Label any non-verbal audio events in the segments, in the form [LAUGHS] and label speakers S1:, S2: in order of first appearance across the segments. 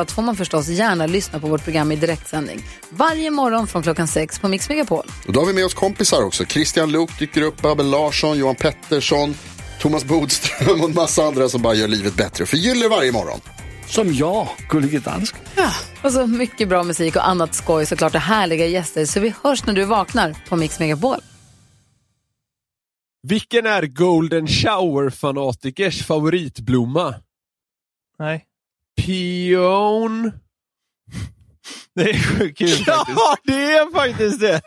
S1: allt får man förstås gärna lyssna på vårt program i direktsändning. Varje morgon från klockan sex på Mix Megapol.
S2: Och då har vi med oss kompisar också. Christian Luuk dyker upp, Abel Larsson, Johan Pettersson, Thomas Bodström och en massa andra som bara gör livet bättre för gillar varje morgon.
S3: Som jag, Gullige Dansken.
S1: Och så mycket bra musik och annat skoj såklart och härliga gäster. Så vi hörs när du vaknar på Mix Megapol.
S4: Vilken är Golden Shower-fanatikers favoritblomma?
S5: Nej.
S4: Pion.
S5: Det är sjukt kul faktiskt.
S4: Ja, det är faktiskt det!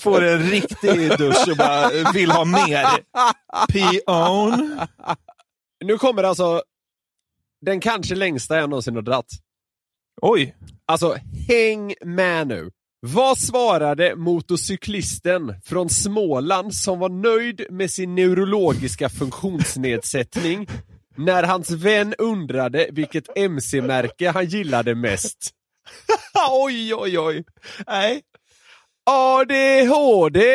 S5: Får en riktig dusch och bara vill ha mer. P-own.
S4: Nu kommer alltså den kanske längsta jag någonsin har dratt.
S5: Oj.
S4: Alltså, häng med nu. Vad svarade motorcyklisten från Småland som var nöjd med sin neurologiska funktionsnedsättning när hans vän undrade vilket mc-märke han gillade mest? [LAUGHS]
S5: oj, oj, oj. Nej.
S4: ADHD!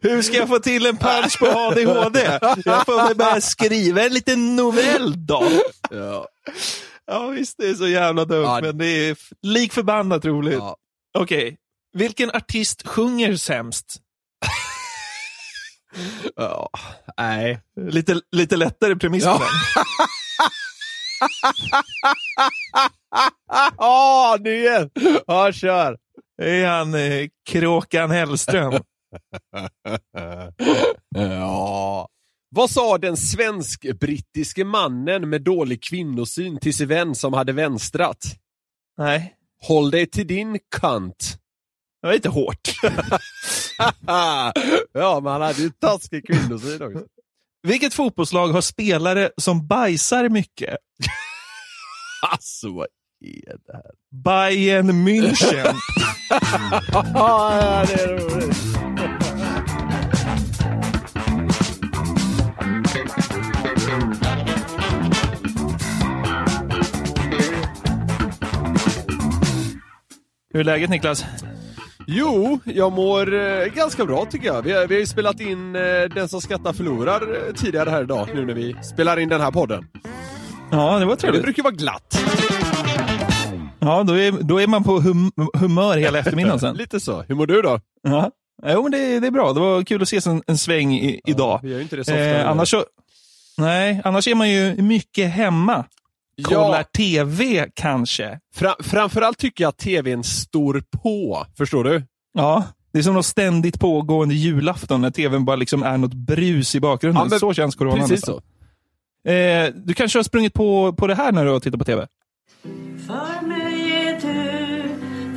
S5: Hur ska jag få till en punch på ADHD? Jag får väl börja skriva en liten novell då.
S4: [LAUGHS] Ja,
S5: Ja visst, det är så jävla dumt,
S4: Ja.
S5: men det är f- lik förbannat roligt.
S4: ja.
S5: Okej, vilken artist sjunger sämst?
S4: ja. Nej.
S5: Lite, lite lättare premiss på
S4: Ja.
S5: den. Ah,
S4: Ja, nu Ja, kör!
S5: Det är han eh, Kråkan Hellström.
S4: Ja. Vad sa den svensk-brittiske mannen med dålig kvinnosyn till sin vän som hade vänstrat?
S5: Nej,
S4: Håll dig till din kant.
S5: det var lite hårt.
S4: Ah. ja, men han hade ju taskig kvinnosyn också.
S5: Vilket fotbollslag har spelare som bajsar mycket?
S4: Alltså, vad är det här?
S5: Bayern München.
S4: Ja, det är roligt.
S5: Hur är läget Niklas?
S4: Jo, jag mår eh, ganska bra tycker jag. Vi, har- vi har ju spelat in eh, Den som skrattar förlorar eh, tidigare här idag, nu när vi spelar in den här podden.
S5: Ja, det var
S4: Det
S5: trevligt.
S4: brukar ju vara glatt.
S5: Ja, då är, då är man på hum, humör hela eftermiddagen sen.
S4: Lite så. Hur mår du då?
S5: Ja. Jo, men det, det är bra. Det var kul att ses en, en sväng i, idag.
S4: Vi gör ju inte det så ofta.
S5: Eh, annars, så, nej, annars är man ju mycket hemma. Kollar
S4: ja,
S5: TV kanske.
S4: fra, framförallt tycker jag att tvn står på. Förstår du?
S5: Ja, det är som något ständigt pågående julafton när tvn bara liksom är något brus i bakgrunden.
S4: Ja, men
S5: så känns coronan
S4: Precis
S5: nästan.
S4: så.
S5: Eh, du kanske har sprungit på, på det här när du har tittat på TV?
S6: För mig är du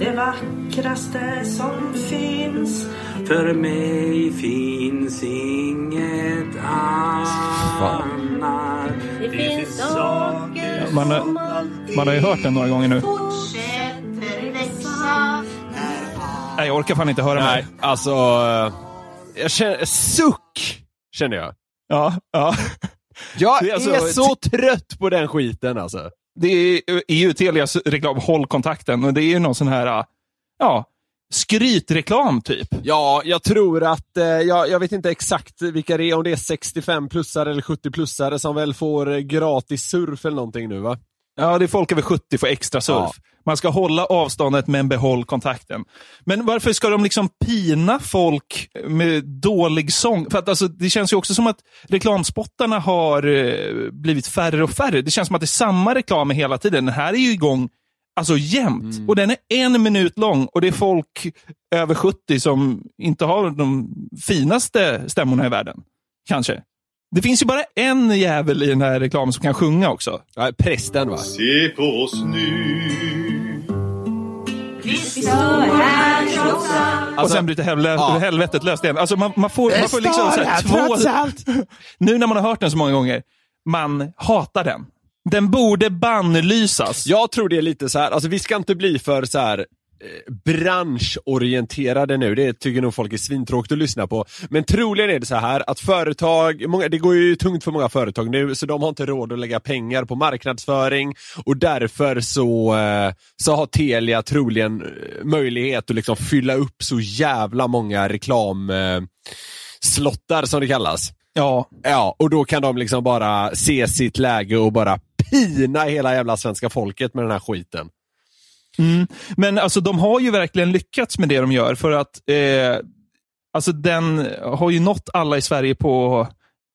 S6: det vackraste som finns För mig finns inget annat Det finns saker
S5: Man har, man har ju hört den några gånger nu.
S6: fortsätter växa
S5: Nej, jag orkar fan inte höra
S4: Nej,
S5: mer.
S4: alltså... eh, Jag känner, suck! Känner jag.
S5: Ja, ja.
S4: Jag
S5: Det
S4: är,
S5: är alltså-
S4: så trött på den skiten alltså.
S5: Det är är ju Telias reklam Håll kontakten och det är ju någon sån här ja, skrytreklam typ.
S4: Ja, jag tror att, eh, jag, jag vet inte exakt vilka det är, om det är 65-plussare eller 70-plussare som väl får eh, gratis surf eller någonting nu va?
S5: Ja, det är folk över 70 får extra surf.
S4: Ja.
S5: Man ska hålla avståndet men behåll kontakten. Men varför ska de liksom pina folk med dålig sång? För att alltså, det känns ju också som att reklamspottarna har eh, blivit färre och färre. Det känns som att det är samma reklam hela tiden. Den här är ju igång alltså jämt. Och den är en minut lång och det är folk över 70 som inte har de finaste stämmorna i världen. Kanske. Det finns ju bara en jävel i den här reklamen som kan sjunga också.
S4: Ja, prästen va?
S7: Se på oss nu
S5: och
S4: Alltså,
S5: sen bryter helvete, helvetet löst igen. Alltså man, man får, man får liksom så här, två... Nu när man har hört den så många gånger, man hatar den. Den borde bannlysas.
S4: Jag tror det är lite så här, alltså vi ska inte bli för så här eh, branschorienterade nu, det tycker nog folk är svintråkigt att lyssna på. Men troligen är det så här att företag, många, det går ju tungt för många företag nu, så de har inte råd att lägga pengar på marknadsföring och därför så, eh, så har Telia troligen eh, möjlighet att liksom fylla upp så jävla många reklam eh, slottar som det kallas.
S5: Ja,
S4: Ja, och då kan de liksom bara se sitt läge och bara pina hela jävla svenska folket med den här skiten.
S5: Men alltså, de har ju verkligen lyckats med det de gör. För att eh, alltså, den har ju nått alla i Sverige på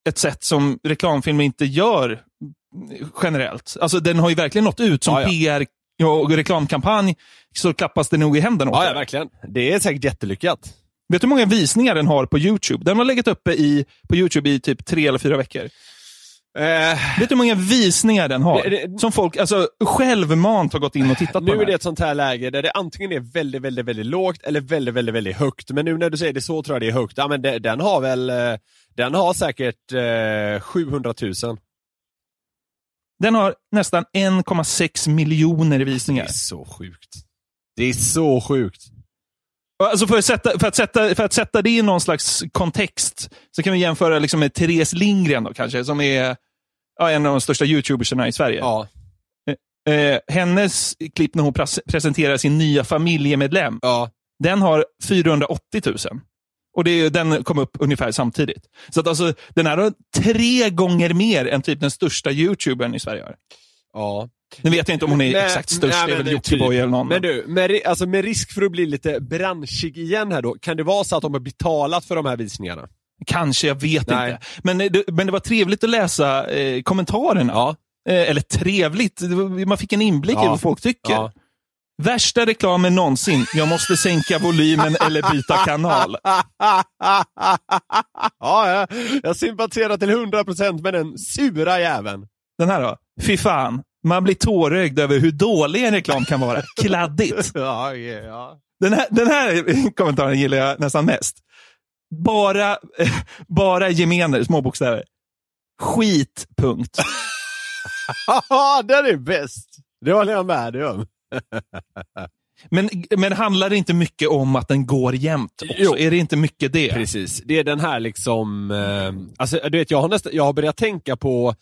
S5: ett sätt som reklamfilmer inte gör generellt. Alltså, den har ju verkligen nått ut som
S4: Ja, ja.
S5: PR och reklamkampanj. Så klappas det nog i händerna åt
S4: Ja,
S5: det.
S4: ja, verkligen. Det är säkert jättelyckat.
S5: Vet du hur många visningar den har på YouTube? Den har legat uppe i, på YouTube i typ tre eller fyra veckor.
S4: Eh,
S5: Vet du hur många visningar den har?
S4: Det- det-
S5: Som folk alltså, självmant har gått in och tittat på.
S4: nu
S5: den
S4: är
S5: här.
S4: det ett sånt här läge där det antingen är väldigt, väldigt, väldigt lågt eller väldigt, väldigt, väldigt högt. Men nu när du säger det så tror jag det är högt. Ja, men de- den har väl, eh, den har säkert eh, 700 000.
S5: Den har nästan 1,6 miljoner
S4: Det
S5: visningar.
S4: är så sjukt. Det är så sjukt.
S5: Alltså för, att sätta, för, att sätta, för att sätta det i någon slags kontext så kan vi jämföra liksom med Therese Lindgren, då, kanske, som är ja, en av de största youtubersarna i Sverige.
S4: Ja,
S5: Eh, hennes klipp när hon pres- presenterar sin nya familjemedlem,
S4: ja.
S5: den har 480 000. Och det är, ju- den kom upp ungefär samtidigt. Så att alltså, den här har tre gånger mer än typ den största youtubern i Sverige har.
S4: ja.
S5: Nu vet jag inte om hon är
S4: Men-
S5: exakt störst,
S4: nej,
S5: det är
S4: men
S5: väl
S4: typ.
S5: Jockiboi eller någon.
S4: Men du, med, ri- alltså med risk för att bli lite branschig igen här då, kan det vara så att de har betalat för de här visningarna? [LAUGHS]
S5: Kanske, jag vet
S4: Nej.
S5: inte. Men, eh, det- men det var trevligt att läsa eh, kommentarerna. Eh, eller trevligt, det var- man fick en inblick
S4: Ja.
S5: i vad folk tycker.
S4: Ja.
S5: Värsta reklamen någonsin. Jag måste
S4: [LAUGHS]
S5: sänka volymen eller byta kanal.
S4: ja, ja, jag sympatiserar till 100% med den sura jäveln.
S5: Den här då? Fy fan, man blir tårögd över hur dålig en reklam kan vara. Kladdigt.
S4: Ja, ja, ja. [LAUGHS]
S5: Den här, den här kommentaren gillar jag nästan mest. Bara, [LAUGHS] eh, bara gemener, små bokstäver. Skit, punkt.
S4: Haha, den är bäst! Det håller jag med dig om.
S5: Men, men handlar det inte mycket om att den går jämnt också?
S4: Jo.
S5: Är det inte mycket det?
S4: Precis. Det är den här liksom... Eh, alltså, du vet, jag har, nästa, jag har börjat tänka på...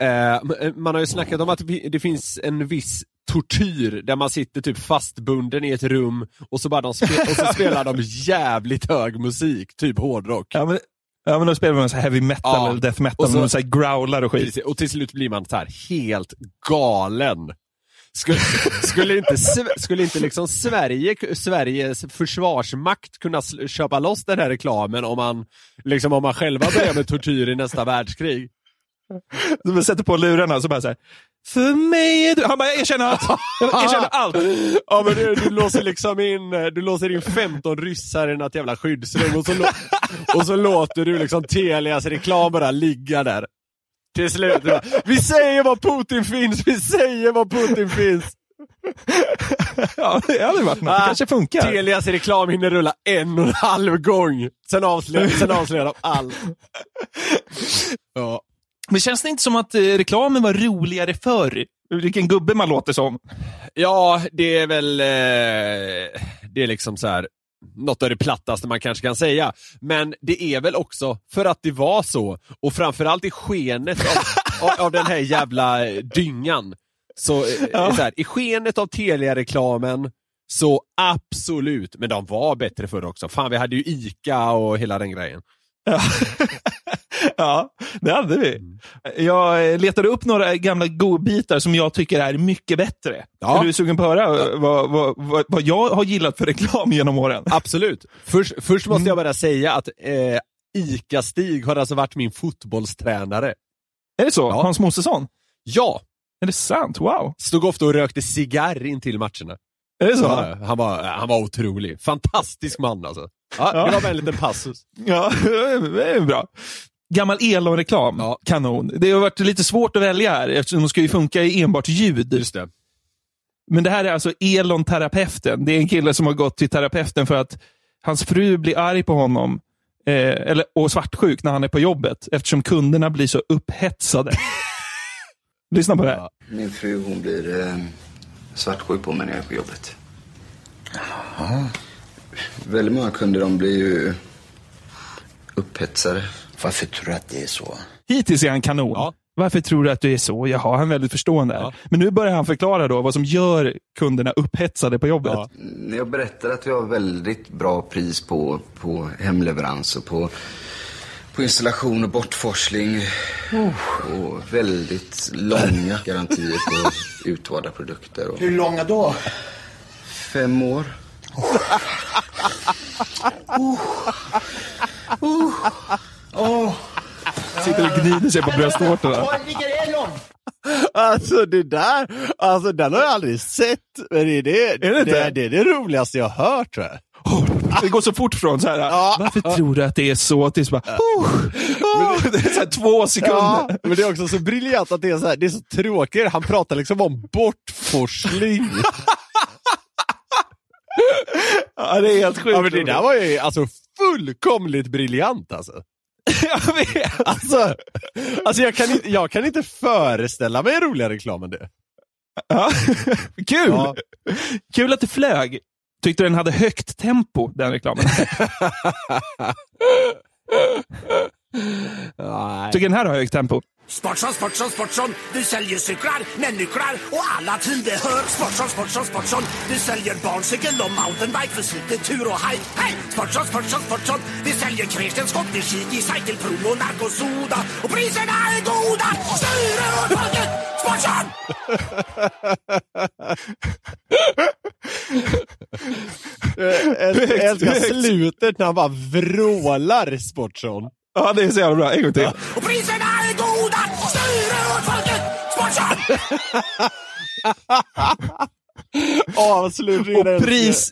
S4: Eh, m- man har ju snackat om att vi- det finns en viss tortyr där man sitter typ fastbunden i ett rum och så, bara de spe, och så spelar de jävligt hög musik, typ hårdrock.
S5: Ja, men, ja, men då spelar man så här heavy metal
S4: Ja.
S5: eller death metal.
S4: Och
S5: Och
S4: så-
S5: så, så här growlar och skit.
S4: Precis. Och till slut blir man så här helt galen. Skulle, skulle inte, Sve- skulle inte liksom Sverige, Sveriges försvarsmakt kunna sl- köpa loss den här reklamen om man, liksom om man själva börjar med tortyr i nästa världskrig?
S5: Man sätter på lurarna och så bara så här. För mig är du... Han bara, jag erkänner allt. Jag erkänner
S4: [LAUGHS]
S5: allt.
S4: Ja, men du, du låser liksom in, eh, du låser in 15 ryssar i något jävla skyddsrum och så, lå- och så låter du liksom Telias reklam bara ligga där. Till slut. du Bara, vi säger var Putin finns, vi säger var Putin finns.
S5: Ja, det hade varit något. Det
S4: Ah,
S5: kanske funkar.
S4: Telias reklam hinner rulla en och en halv gång. Sen
S5: [LAUGHS]
S4: avslöjar, sen avslöjar de allt. Ja.
S5: Men känns det inte som att eh, reklamen var roligare förr? Vilken gubbe man låter som.
S4: ja, det är väl... Eh, det är liksom så här något av det plattaste man kanske kan säga. Men det är väl också för att det var så, och framförallt i skenet av, av, av den här jävla eh, dyngan. Så, eh, så här, I skenet av Telia-reklamen, så absolut. Men de var bättre förr också. Fan, vi hade ju ICA och hela den grejen.
S5: Ja. ja, det hade vi. Mm. Jag eh, letade upp några gamla godbitar som jag tycker är mycket bättre.
S4: Ja.
S5: Är du sugen på att höra eh, vad, vad, vad, vad jag har gillat för reklam genom åren?
S4: Absolut. Först, först måste jag bara säga att eh, ICA-Stig har alltså varit min fotbollstränare.
S5: Är det så?
S4: Ja.
S5: Hans Mosesson?
S4: Ja,
S5: Är det sant? Wow.
S4: stod ofta och rökte cigarr in till matcherna.
S5: Är det så?
S4: Ja, Han, var, han var otrolig. Fantastisk man alltså. Ja,
S5: Ja.
S4: Det var bara en liten passus.
S5: Ja, [LAUGHS] det är bra. Gammal Elon-reklam.
S4: Ja.
S5: Kanon. Det har varit lite svårt att välja här eftersom de ska ju funka i enbart ljud.
S4: Just det.
S5: Men det här är alltså Elon terapeuten. Det är en kille som har gått till terapeuten för att hans fru blir arg på honom eh, eller, och svartsjuk när han är på jobbet eftersom kunderna blir så upphetsade. Lyssna på det här.
S8: Min fru hon blir eh, svartsjuk på mig när jag är på jobbet. Jaha. Väldigt många kunder de blir ju upphetsade.
S9: Varför tror du att det är så?
S5: Hittills är han kanon.
S10: Ja.
S5: Varför tror du att du är så? Jaha, han är väldigt förstående. här. Men nu börjar han förklara då vad som gör kunderna upphetsade på jobbet.
S10: Ja.
S8: När jag berättar att vi har väldigt bra pris på, på hemleverans och på, på installation och bortforsling. Och väldigt långa [LAUGHS] garantier på utvalda produkter. Och
S9: Hur långa då?
S8: fem år.
S5: Sitter och gnider sig på bröstvårtorna.
S4: Alltså det där, alltså den har jag aldrig sett. Men det är det,
S5: Är det inte?
S4: det, det, är det roligaste jag har hört tror jag.
S5: Det går så fort från så här. Varför tror du att det är så? Tills bara, oh, oh. Det är så här två sekunder.
S4: Ja, men det är också så briljant att det är så, här, det är så tråkigt. Han pratar liksom om bortforsling.
S5: Ja, det är helt sjukt.
S4: ja, men det där var ju alltså fullkomligt briljant alltså.
S5: Jag vet.
S4: Alltså, alltså jag, kan inte, jag kan inte föreställa mig en roligare reklam än det.
S5: Ja. Kul!
S4: Ja.
S5: Kul att det flög. Tyckte den hade högt tempo, den reklamen. Tycker den här har högt tempo.
S3: [LAUGHS] Sportson, Sportson, Sportson, du säljer cyklar, människor och alla tillbehör. Sportson, Sportson, Sportson, du säljer barncykel och mountainbike för slitet tur och haj. Hej! Sportson, Sportson, Sportson, vi säljer Kristen skottbeskik i cykelpron och narkosoda. Och priserna är goda! Styr övertaget! Sportson!
S4: Jag jag älskar slutet när han bara vrålar Sportson.
S5: Ja, det är så jävla bra. En gång till.
S3: Och priserna är goda! Styr övertaget! Sportson!
S4: Avslutningen
S5: Och, pris,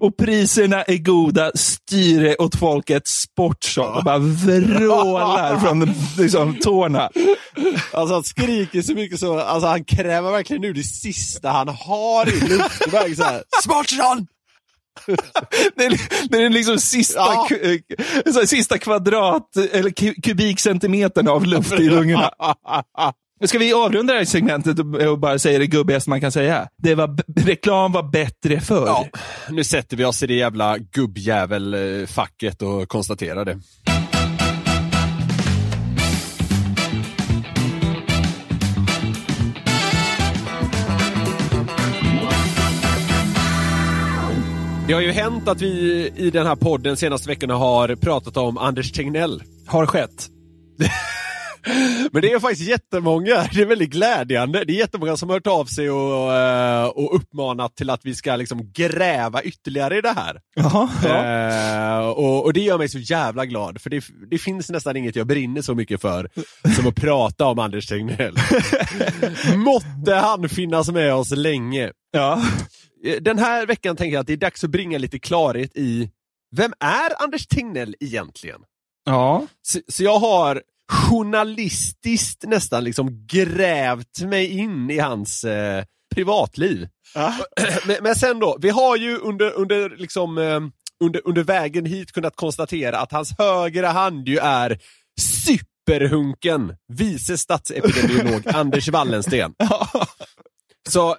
S5: och priserna är goda, styre åt folket, sportshop. Och bara vrålar från liksom, tårna.
S4: Alltså han skriker så mycket så, alltså han kräver verkligen nu det sista han har i luftväg så här.
S10: [LAUGHS]
S4: Sportson!
S5: Det är, det är den liksom sista,
S4: Ja.
S5: ku- eh, så här, sista kvadrat, eller ku- kubikcentimetern av luft i lungorna. Ska vi avrunda det här segmentet och, och bara säga det gubbigaste man kan säga? Det var, b- reklam var bättre förr.
S4: Ja, nu sätter vi oss i det jävla
S10: eh,
S4: gubbjävel-facket och konstaterar det.
S10: Det har ju hänt att vi i den här podden senaste veckorna har pratat om Anders Tegnell.
S5: Har skett.
S4: Men det är faktiskt jättemånga, [LAUGHS] det är väldigt glädjande. Det är jättemånga som har hört av sig och, eh, och uppmanat till att vi ska liksom gräva ytterligare i det här.
S5: Jaha, ja.
S4: Eh, och, och det gör mig så jävla glad, för det, det finns nästan inget jag brinner så mycket för som att prata om Anders Tegnell. [LAUGHS] Måtte han finnas med oss länge.
S5: ja.
S4: Eh, Den här veckan tänker jag att det är dags att bringa lite klarhet i vem är Anders Tegnell egentligen?
S5: ja.
S4: Så, så jag har journalistiskt nästan liksom grävt mig in i hans eh, privatliv. [CLEARS THROAT] Men, men sen då, vi har ju under, under, liksom, eh, under, under vägen hit kunnat konstatera att hans högra hand ju är superhunken, vice statsepidemiolog Anders Wallensten. Så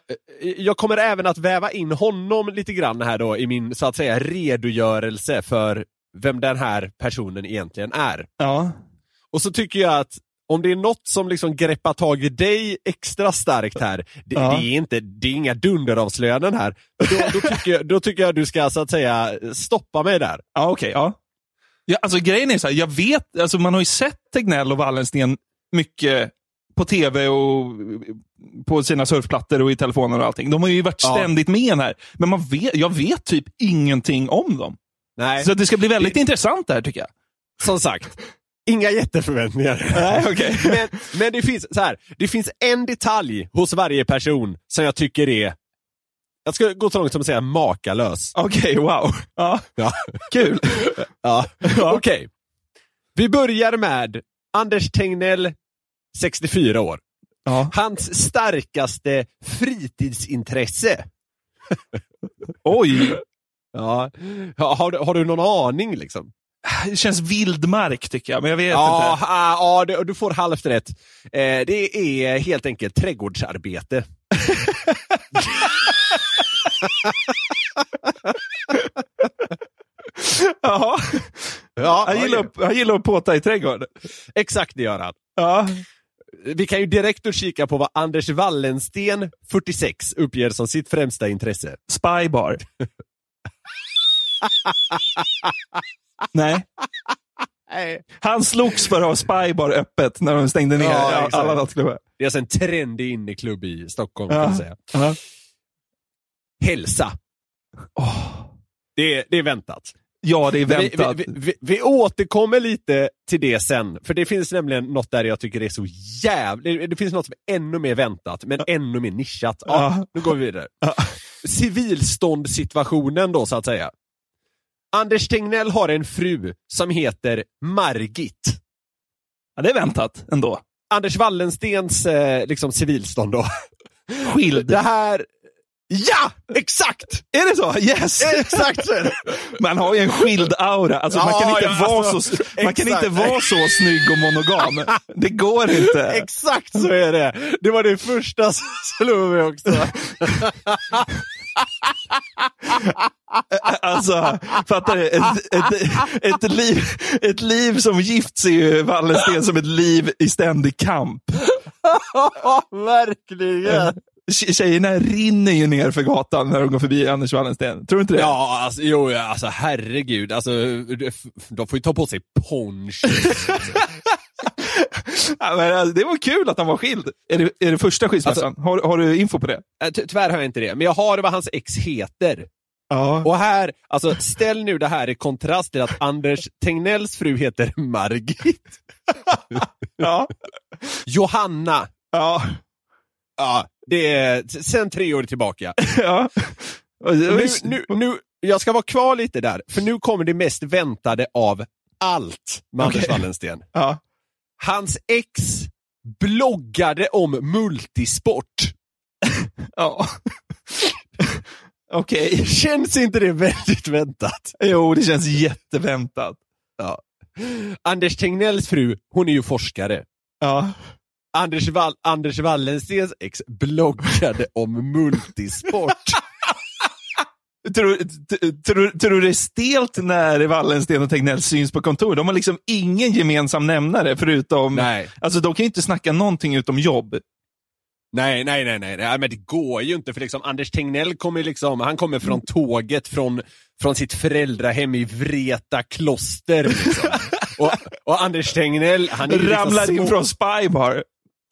S4: eh, jag kommer även att väva in honom lite grann här då i min så att säga redogörelse för vem den här personen egentligen är.
S5: ja.
S4: Och så tycker jag att om det är något som liksom greppar tag i dig extra starkt här, det,
S5: Ja.
S4: det, är, inte, det är inga dunderavslöjanden här, då, då, tycker jag, då tycker jag du ska så att säga stoppa mig där.
S5: Ja, okej. ja. Ja, alltså, grejen är så här, jag vet, alltså, man har ju sett Tegnell och Wallensten mycket på tv och på sina surfplattor och i telefoner och allting. De har ju varit
S4: Ja.
S5: ständigt med i den här. Men man vet, jag vet typ ingenting om dem.
S4: Nej,
S5: Så att det ska bli väldigt intressant det här tycker jag.
S4: som sagt, inga jätteförväntningar.
S5: Nej, okej.
S4: men, men det finns så här, det finns en detalj hos varje person som jag tycker är, jag skulle gå så långt som att säga makalös.
S5: Okej, wow. Ja,
S4: Ja.
S5: kul.
S4: [LAUGHS] Ja. Okej. Vi börjar med Anders Tegnell, 64 år.
S5: Ja.
S4: Hans starkaste fritidsintresse.
S5: Oj!
S4: Ja. Ja, Har, du- har du någon aning liksom?
S5: Det känns vildmark tycker jag, men jag vet
S4: Ja,
S5: inte.
S4: ah, ja det, du får halvt rätt. Eh, det är helt enkelt
S5: [LAUGHS]
S4: trädgårdsarbete.
S5: Jaha.
S4: Ja,
S5: Han gillar, att- han gillar att påta i trädgården.
S4: Exakt det gör han.
S5: Ja.
S4: Vi kan ju direkt och kika på vad Anders Wallensten, 46, uppger som sitt främsta intresse.
S5: Spybar. Nej.
S4: Nej.
S5: Han slogs för att ha Spybar öppet när de stängde ner
S4: Ja,
S5: ja,
S4: exakt.
S5: alla nattklubbar.
S4: Det är alltså en trendig inneklubb i Stockholm, kan
S5: Ja.
S4: man säga.
S5: Ja.
S4: Hälsa. Det, är- det är väntat.
S5: ja, det är
S4: Vi,
S5: väntat.
S4: vi, vi, vi återkommer lite till det sen, för det finns nämligen något där jag tycker det är så jävligt... Det finns något som är ännu mer väntat, men ännu mer nischat. Ja,
S5: Ja.
S4: Nu går vi vidare. Civilståndssituationen då, så att säga. Anders Tegnell har en fru som heter Margit.
S5: Ja, det är väntat ändå.
S4: Anders Wallenstens eh, liksom, civilstånd då.
S5: Skild.
S4: Det här... Ja! Exakt!
S5: Är det så? Yes!
S4: Exakt så är det.
S5: Man har ju en skild aura. Alltså, man kan
S4: Ja,
S5: inte,
S4: ja,
S5: vara,
S4: alltså,
S5: så, man kan
S4: exakt.
S5: inte vara så snygg och monogam. Det går inte.
S4: Exakt så är det. Det var det första som slog mig också.
S5: [LAUGHS] Alltså, fattar du? Ett, ett, ett, liv, ett liv som gift ser ju Wallensten som ett liv i ständig kamp.
S4: [LAUGHS] Verkligen.
S5: Tje- Tjejerna rinner ju ner för gatan när de går förbi Anders Wallensten. Tror du inte det?
S4: Ja, alltså, jo, ja, alltså herregud. Alltså, de får ju ta på sig
S5: [LAUGHS]
S4: ponch.
S5: Ja, men alltså, det var kul att han var skild. Är det, är det första skilsmässan?
S4: Alltså-
S5: har, har du info på det?
S4: Äh, Tyvärr har jag inte det, men jag har vad hans ex heter.
S5: Ja.
S4: Och här, alltså ställ nu det här i kontrast till att Anders Tegnells fru heter Margit.
S5: [LAUGHS] Ja.
S4: Johanna.
S5: ja.
S4: Ja, det är sen tre år tillbaka.
S5: [LAUGHS] ja.
S4: Nu, nu, nu, jag ska vara kvar lite där, för nu kommer det mest väntade av allt med Anders
S5: Okej.
S4: Wallensten.
S5: Ja.
S4: Hans ex bloggade om multisport. [LAUGHS]
S5: ja. [LAUGHS] Okej.
S4: Känns inte det väldigt väntat?
S5: Jo, det känns jätteväntat.
S4: Anders Tegnells fru, hon är ju forskare.
S5: Ja.
S4: Anders, Wall- Anders Wallenstens ex
S5: [LAUGHS]
S4: bloggade om multisport.
S5: Tror, t- tror, tror du det är stelt när Wallensten och Tegnell syns på kontor? De har liksom ingen gemensam nämnare förutom...
S4: nej.
S5: Alltså, de kan ju inte snacka någonting utom jobb.
S4: Nej, nej, nej, nej, nej, men det går ju inte för liksom Anders Tegnell kommer liksom, han kommer
S5: Mm.
S4: från tåget från, från sitt föräldrahem i Vreta kloster.
S5: [LAUGHS]
S4: Liksom. och, och Anders Tegnell, han är ju
S5: Ramlar
S4: liksom
S5: in från Spybar.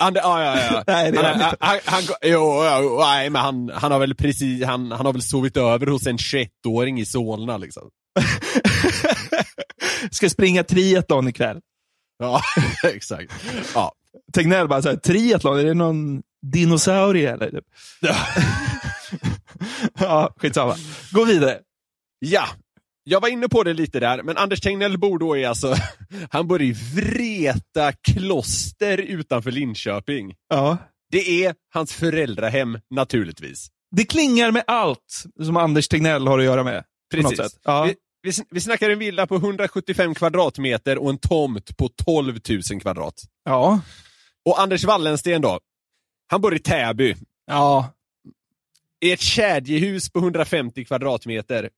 S4: And, ja, ja, ja.
S5: [LAUGHS] Nej, det är
S4: han,
S5: han
S4: han, han, han, jo, jo, nej, men han, han har väl precis, han, han har väl sovit över hos en 21-åring i Solna liksom.
S5: Ska springa triathlon ikväll.
S4: Ja, [LAUGHS] exakt. Ja. [LAUGHS]
S5: Tegnell bara såhär, triathlon, är det någon dinosaurie eller? Typ. ja, skitsamma. Gå vidare.
S4: Ja, jag var inne på det lite där, men Anders Tegnell bor då i alltså, [LAUGHS] han bor i Vreta kloster utanför Linköping.
S5: Ja.
S4: Det är hans föräldrahem naturligtvis.
S5: Det klingar med allt som Anders Tegnell har att göra med. på något
S4: Precis.
S5: sätt. Ja.
S4: Vi, vi, sn- vi snackar en villa på 175 kvadratmeter och en tomt på 12 000 kvadrat.
S5: ja.
S4: Och Anders Wallensten då, han bor i Täby,
S5: Ja.
S4: i ett kedjehus på 150 kvadratmeter.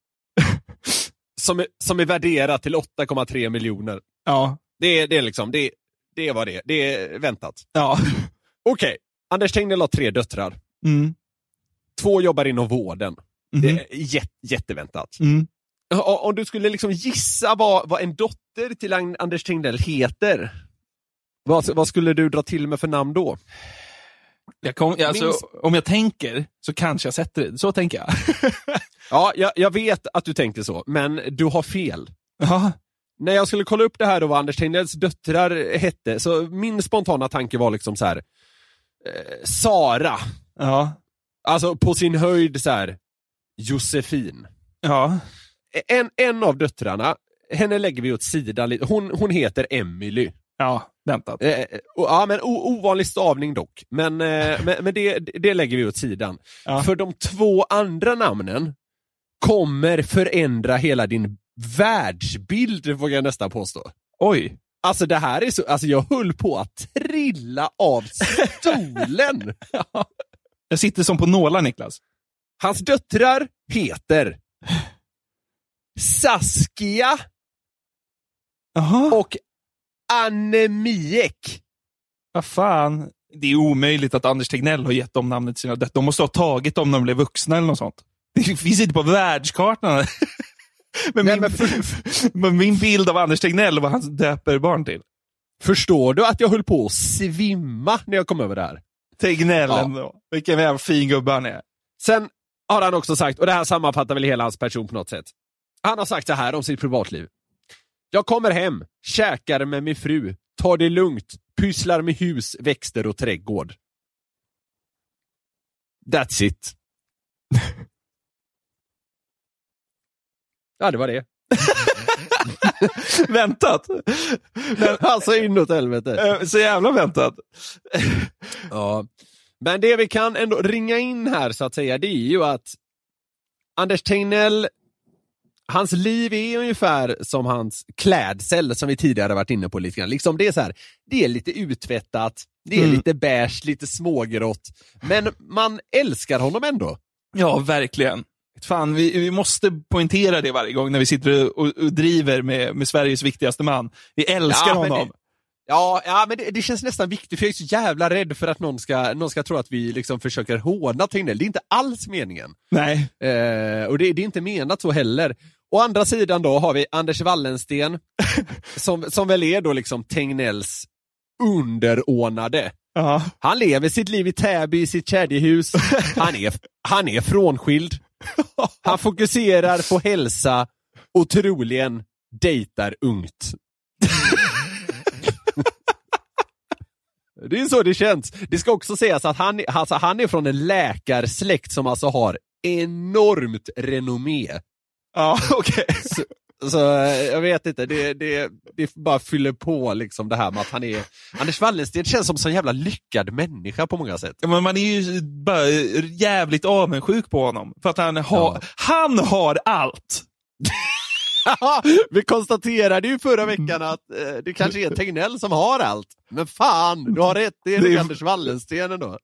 S4: [LAUGHS] som, är, som är värderat till 8,3 miljoner.
S5: Ja.
S4: Det är, det är liksom, det, det var det. Det är väntat.
S5: Ja.
S4: Okej, Anders Tegnell har tre döttrar.
S5: Mm.
S4: Två jobbar inom vården.
S5: Mhm.
S4: Det är jät, jätteväntat.
S5: Mm.
S4: O- Om du skulle liksom gissa vad, vad en dotter till Ang- Anders Tegnell heter, vad, vad skulle du dra till med för namn då?
S5: Jag kom, alltså,
S4: Minst-
S5: Om jag tänker så kanske jag sätter det. Så tänker jag. [LAUGHS]
S4: Ja, jag, jag vet att du tänker så, men du har fel.
S5: ja.
S4: När jag skulle kolla upp det här och vad Anders Tegnells döttrar hette, så min spontana tanke var liksom så här. Eh, Sara,
S5: Ja.
S4: alltså på sin höjd så här. Josefin.
S5: Ja.
S4: En, en av döttrarna, henne lägger vi åt sidan lite. Hon, hon heter Emily.
S5: Ja, väntat.
S4: Eh, och- ja, men o- ovanlig stavning dock. Men, eh, men, men det, det lägger vi åt sidan.
S5: Ja.
S4: För de två andra namnen kommer förändra hela din världsbild, vågar jag nästan påstå.
S5: Oj.
S4: Alltså det här är så, alltså jag höll på att trilla av
S5: [LAUGHS]
S4: stolen.
S5: Jag sitter som på nålar, Niklas.
S4: Hans döttrar heter Saskia
S5: Jaha.
S4: och Anemiek.
S5: Vad fan. Det är omöjligt att Anders Tegnell har gett dem namnet till sina döttrar. De måste ha tagit dem när de blev vuxna eller något sånt. Det finns inte på världskartan. [LAUGHS] men, min, [LAUGHS] men min bild av Anders Tegnell och vad han döper barn till.
S4: Förstår du att jag höll på att svimma när jag kom över det här?
S5: Tegnell
S4: Ja.
S5: ändå. Vilken jävla fin gubbe han är.
S4: Sen har han också sagt, och det här sammanfattar väl hela hans person på något sätt. Han har sagt så här om sitt privatliv. Jag kommer hem, käkar med min fru, tar det lugnt, pysslar med hus, växter och trädgård. That's it. [LAUGHS] ja, det var [LAUGHS] det.
S5: väntat. Men,
S4: Alltså inåt helvete.
S5: eh, så jävla väntat.
S4: Ja. Men det vi kan ändå ringa in här så att säga, det är ju att Anders Tegnell, hans liv är ungefär som hans klädsel som vi tidigare varit inne på lite grann. Liksom det är så här, det är lite uttvättat, det är
S5: Mm.
S4: lite beige, lite smågrått, men man älskar honom ändå.
S5: Ja, verkligen. Fan, vi, vi måste poängtera det varje gång när vi sitter och, och driver med, med Sveriges viktigaste man. Vi älskar
S4: Ja, men
S5: honom.
S4: det- Ja, ja men det, det känns nästan viktigt för jag är så jävla rädd för att någon ska, någon ska tro att vi liksom försöker håna Tegnell. Det är inte alls meningen.
S5: Nej.
S4: Eh, och det, det är inte menat så heller. Å andra sidan då har vi Anders Wallensten, som, som väl är då liksom Tegnells underordnade.
S5: Ja.
S4: Han lever sitt liv i Täby, i sitt kedjehus. Han är, han är frånskild. Han fokuserar på hälsa och troligen dejtar ungt. Det är så det känns. Det ska också sägas att han, alltså, han är från en läkarsläkt som alltså har enormt renommé.
S5: Ja, okej.
S4: Så eh, jag vet inte, det, det, det bara fyller på liksom det här med att han är... Anders Wallensten känns som en sån jävla lyckad människa på många sätt.
S5: Ja, Men man är ju bara jävligt avundsjuk på honom. För att han, har han har allt.
S4: Vi konstaterade ju förra veckan att eh, det kanske är Tegnell som har allt. Men fan, du har rätt, det är
S5: Det
S4: nog
S5: är-
S4: Anders Wallensten ändå.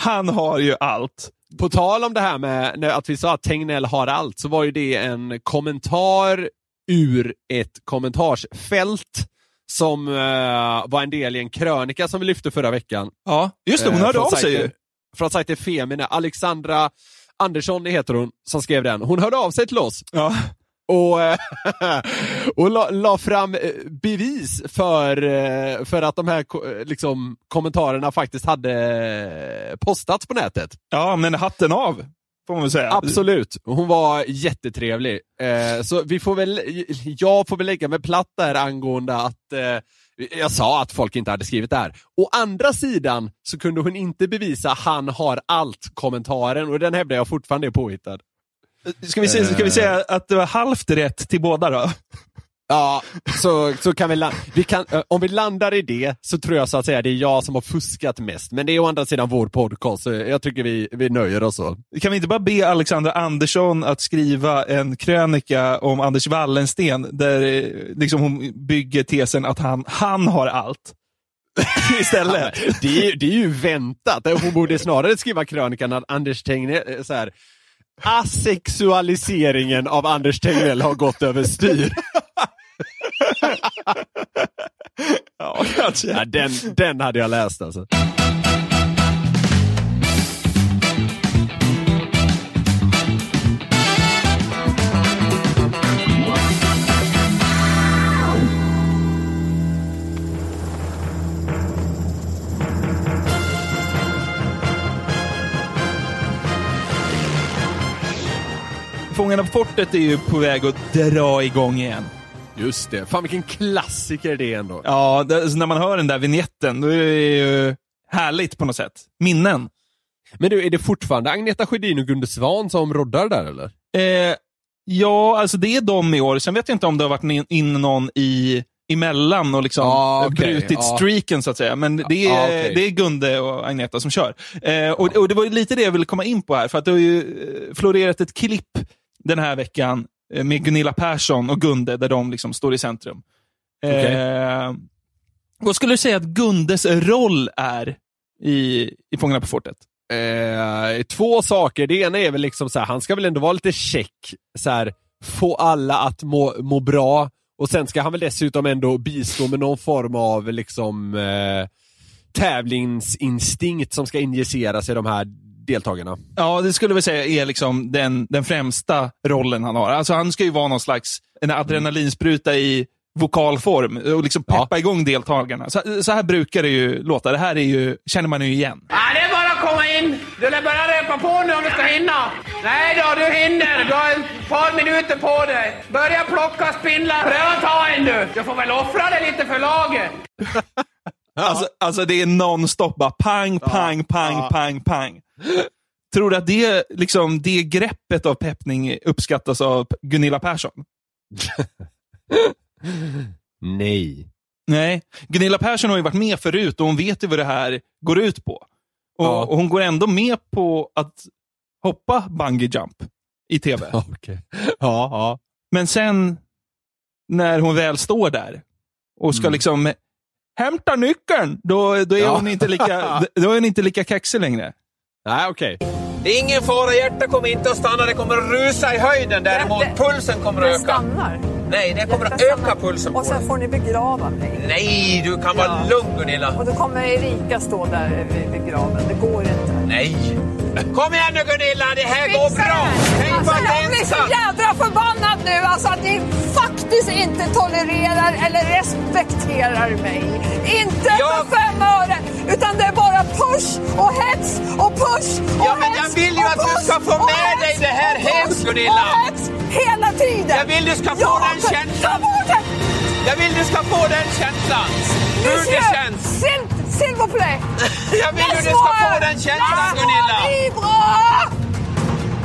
S5: Han har ju allt.
S4: På tal om det här med när- att vi sa att Tegnell har allt, så var ju det en kommentar ur ett kommentarsfält som eh, var en del i en krönika som vi lyfte förra veckan.
S5: Ja, just det. Hon
S4: Eh,
S5: hörde
S4: från
S5: av sig ju.
S4: sajten- Från sajten Femina. Alexandra Andersson heter hon som skrev den. Hon hörde av sig till oss
S5: Ja.
S4: och, eh, [LAUGHS] och la, la fram eh, bevis för, eh, för att de här ko- eh, liksom, kommentarerna faktiskt hade eh, postats på nätet.
S5: ja, men hatten av. Får man väl säga.
S4: Absolut. Hon var jättetrevlig. Eh, så vi får väl, jag får väl lägga mig platt där angående att eh, jag sa att folk inte hade skrivit det här. Å andra sidan så kunde hon inte bevisa han har allt-kommentaren och den hävdar jag fortfarande är påhittad.
S5: Ska vi, se, ska
S4: Eh.
S5: vi säga att det var halvt rätt till båda då?
S4: Ja, så, så kan vi, la- vi kan, eh, om vi landar i det så tror jag så att säga det är jag som har fuskat mest. Men det är å andra sidan vår podcast så jag tycker vi, vi nöjer oss så.
S5: Kan vi inte bara be Alexandra Andersson att skriva en krönika om Anders Wallensten där eh, liksom hon bygger tesen att han, han har allt?
S4: Ja, [LAUGHS]
S5: Istället.
S4: men det, är, ju- det är ju väntat. Hon borde snarare skriva krönikan att Anders Tegnell, eh, så här, asexualiseringen av Anders Tegnell har gått [LAUGHS] överstyr.
S5: ja, kanske.
S4: Ja, den, den hade jag läst alltså.
S5: Fångarna på fortet är ju på väg att dra igång igen.
S4: Just det. Fan vilken klassiker det är ändå.
S5: Ja, det, alltså när man hör den där vignetten, då är det ju härligt på något sätt. Minnen.
S4: Men du, är det fortfarande Agneta Sjödin och Gunde Svan som roddar där eller?
S5: Eh, ja, alltså det är de i år. Sen vet jag inte om det har varit in, in någon i emellan och liksom
S4: Ah, okej,
S5: brutit
S4: ah.
S5: streaken så att säga. Men det är,
S4: Ah, okej.
S5: det är Gunde och Agneta som kör. Eh, och, och det var ju lite det jag ville komma in på här, för att det har ju eh, florerat ett klipp den här veckan eh, med Gunilla Persson och Gunde där de liksom står i centrum. Eh, Vad skulle du säga att Gundes roll är i, i Fångarna på fortet?
S4: Eh, två saker. Det ena är väl liksom så här, han ska väl ändå vara lite check. Så här, få alla att må, må bra. Och sen ska han väl dessutom ändå bistå med någon form av liksom eh, tävlingsinstinkt som ska injiceras i de här deltagarna.
S5: Ja, det skulle jag väl säga är liksom den, den främsta rollen han har. Alltså han ska ju vara någon slags en adrenalinspruta i vokalform och liksom peppa igång deltagarna. Så, så här brukar det ju låta. Det här är ju, känner man ju igen.
S6: Ja, det är bara att komma in. Du lär bara repa på nu om du ska hinna. Nej då, du hinner. Du har ett par minuter på dig. Börja plocka spindlar. Pröva ta en du. Du får väl offra dig lite för laget.
S5: Alltså, alltså det är nonstop bara pang, pang, pang, pang, pang. Tror du att det, liksom, det greppet av peppning uppskattas av P- Gunilla Persson?
S4: Nej.
S5: Nej, Gunilla Persson har ju varit med förut och hon vet ju vad det här går ut på. Och,
S4: Ja.
S5: och hon går ändå med på att hoppa bungee jump i tv.
S4: [LAUGHS] Okej. Ja, ja.
S5: Men sen när hon väl står där och ska liksom hämta nyckeln, då, då, är,
S4: Mm. Ja.
S5: hon inte lika, då är hon inte lika kaxig längre.
S4: Nej, okej.
S5: Alltså,
S3: Det är ingen fara, hjärtat kommer inte att stanna. Det kommer att rusa i höjden däremot. Pulsen kommer att öka.
S11: stannar.
S3: Nej, det kommer att öka pulsen på
S11: Och sen
S3: dig.
S11: får ni begrava mig.
S3: Nej, du kan vara lugn Gunilla.
S11: Och då kommer Erika stå där vid- vid graven. Det går inte.
S3: Nej. Kom igen nu Gunilla, det här går
S11: Fixa det
S3: bra.
S11: här.
S3: Tänk på
S11: Alltså,
S3: att det är
S11: jag blir så
S3: ensam.
S11: jädra förbannad nu alltså att ni faktiskt inte tolererar eller respekterar mig. Inte
S3: Jag-
S11: för fem öre, utan det är bara push och hets och push och
S3: Ja, men jag
S11: hets
S3: vill ju
S11: och
S3: att du
S11: push
S3: ska få
S11: och
S3: med
S11: hets
S3: dig det här
S11: och
S3: hem,
S11: push
S3: Gunilla.
S11: och hets hela tiden.
S3: Jag vill du ska få
S11: Ja,
S3: den känslan.
S11: Ta bort det!
S3: Jag vill du ska få den känslan. Hur det
S11: Monsieur,
S3: känns.
S11: s'il- S'il vous plaît.
S3: [LAUGHS] Jag vill att du ska få den känslan Gunilla.